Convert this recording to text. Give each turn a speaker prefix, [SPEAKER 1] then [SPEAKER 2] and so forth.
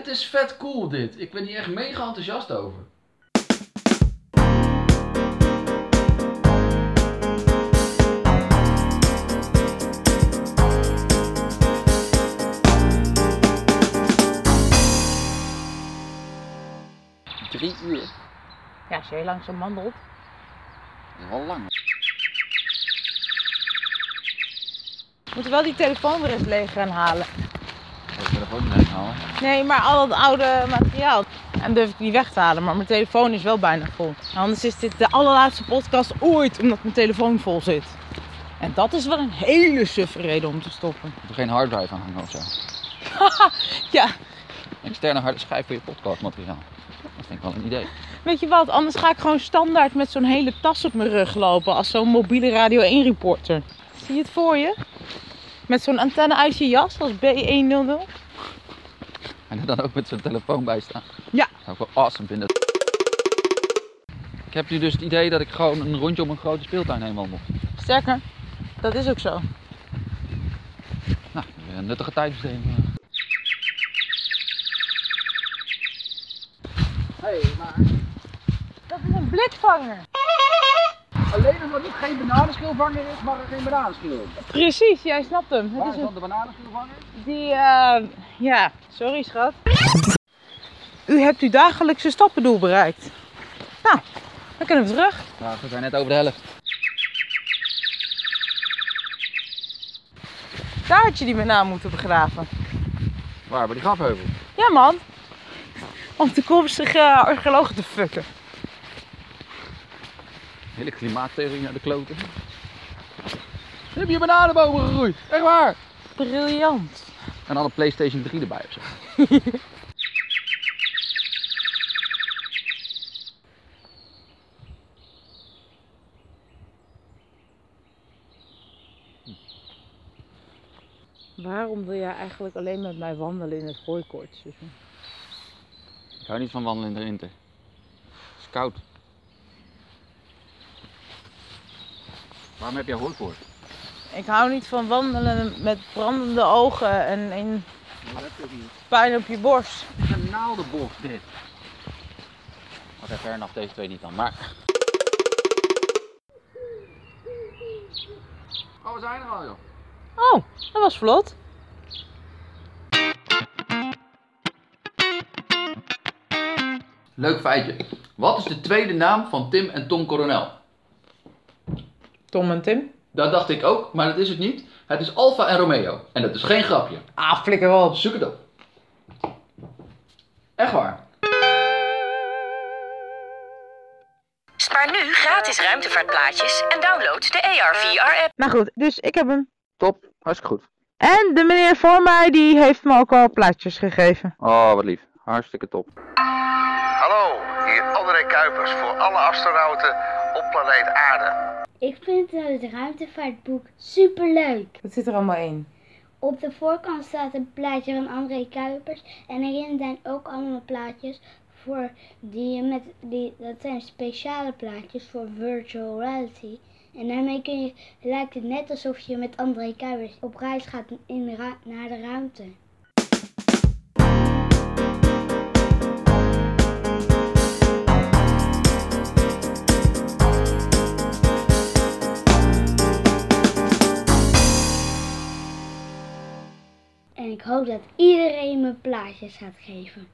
[SPEAKER 1] Het is vet cool dit. Ik ben hier echt mega enthousiast over.
[SPEAKER 2] Drie uur.
[SPEAKER 3] Ja, als je heel langzaam wandelt.
[SPEAKER 2] Dat is wel lang.
[SPEAKER 3] We moeten wel die telefoon weer eens leeg gaan halen.
[SPEAKER 2] Als ik telefoon eruit haal.
[SPEAKER 3] Nee, maar al dat oude materiaal. En durf ik niet weg te halen, maar mijn telefoon is wel bijna vol. Anders is dit de allerlaatste podcast ooit, omdat mijn telefoon vol zit. En dat is wel een hele suffe reden om te stoppen.
[SPEAKER 2] Er geen hard drive aan hangen of zo.
[SPEAKER 3] Ja,
[SPEAKER 2] Externe harde schijf voor je podcastmateriaal. Dat vind ik wel een idee.
[SPEAKER 3] weet je wat? Anders ga ik gewoon standaard met zo'n hele tas op mijn rug lopen. Als zo'n mobiele Radio 1 reporter. Zie je het voor je? Met zo'n antenne uit je jas als B100.
[SPEAKER 2] En er dan ook met zijn telefoon bij staan.
[SPEAKER 3] Ja.
[SPEAKER 2] Dat zou ik wel awesome vinden. Ik heb nu dus het idee dat ik gewoon een rondje om een grote speeltuin heen wandel.
[SPEAKER 3] Sterker, dat is ook zo.
[SPEAKER 2] Nou, weer een nuttige tijdbesteding.
[SPEAKER 1] Hé, maar
[SPEAKER 3] Dat is een blikvanger.
[SPEAKER 1] alleen omdat het geen bananenschilvanger is, mag er geen bananenschil.
[SPEAKER 3] Precies, jij snapt hem.
[SPEAKER 1] Waar
[SPEAKER 3] Het
[SPEAKER 1] is
[SPEAKER 3] is een,
[SPEAKER 1] dan de bananenschilvanger?
[SPEAKER 3] die, eh, ja, sorry schat. U hebt uw dagelijkse stappendoel bereikt. Nou, dan kunnen we terug.
[SPEAKER 2] Nou, we zijn net over de helft.
[SPEAKER 3] Daar had je die met naam moeten begraven.
[SPEAKER 2] Waar, bij die grafheuvel?
[SPEAKER 3] Ja man, om toekomstige eh, archeologen te fucken.
[SPEAKER 2] Hele klimaattheorie naar de kloten.
[SPEAKER 1] Heb je bananenbomen gegroeid? Echt waar?
[SPEAKER 3] Briljant.
[SPEAKER 2] En dan een Playstation 3 erbij of zo.
[SPEAKER 3] Waarom wil jij eigenlijk alleen met mij wandelen in het hooikoorts?
[SPEAKER 2] Ik hou niet van wandelen in de winter. Het is koud. Waarom heb jij hooikoorts?
[SPEAKER 3] Ik hou niet van wandelen met brandende ogen en, en pijn op je borst.
[SPEAKER 2] Een naaldenbos dit. Oké, ver en af deze twee niet dan, maar...
[SPEAKER 1] Oh, we zijn er al joh.
[SPEAKER 3] Oh, dat was vlot.
[SPEAKER 1] Leuk feitje. Wat is de tweede naam van Tim en Tom Coronel?
[SPEAKER 3] Tom en Tim.
[SPEAKER 1] Dat dacht ik ook, maar dat is het niet. Het is Alfa en Romeo. En dat is geen grapje.
[SPEAKER 3] Ah, flikker wel op.
[SPEAKER 1] Zoek het op. Echt waar.
[SPEAKER 4] Spaar nu gratis ruimtevaartplaatjes en download de AR/VR-app.
[SPEAKER 3] Nou goed, dus ik heb hem.
[SPEAKER 2] Top, hartstikke goed.
[SPEAKER 3] En de meneer voor mij, die heeft me ook al plaatjes gegeven.
[SPEAKER 2] Oh, wat lief. Hartstikke top.
[SPEAKER 5] Hallo, hier André Kuipers voor alle astronauten op planeet Aarde.
[SPEAKER 6] Ik vind het ruimtevaartboek superleuk.
[SPEAKER 3] Dat zit er allemaal in.
[SPEAKER 6] Op de voorkant staat een plaatje van André Kuipers. En erin zijn ook allemaal plaatjes voor die je met die dat zijn speciale plaatjes voor virtual reality. En daarmee kun je, lijkt het net alsof je met André Kuipers op reis gaat in de ru- naar de ruimte. En ik hoop dat iedereen me plaatjes gaat geven.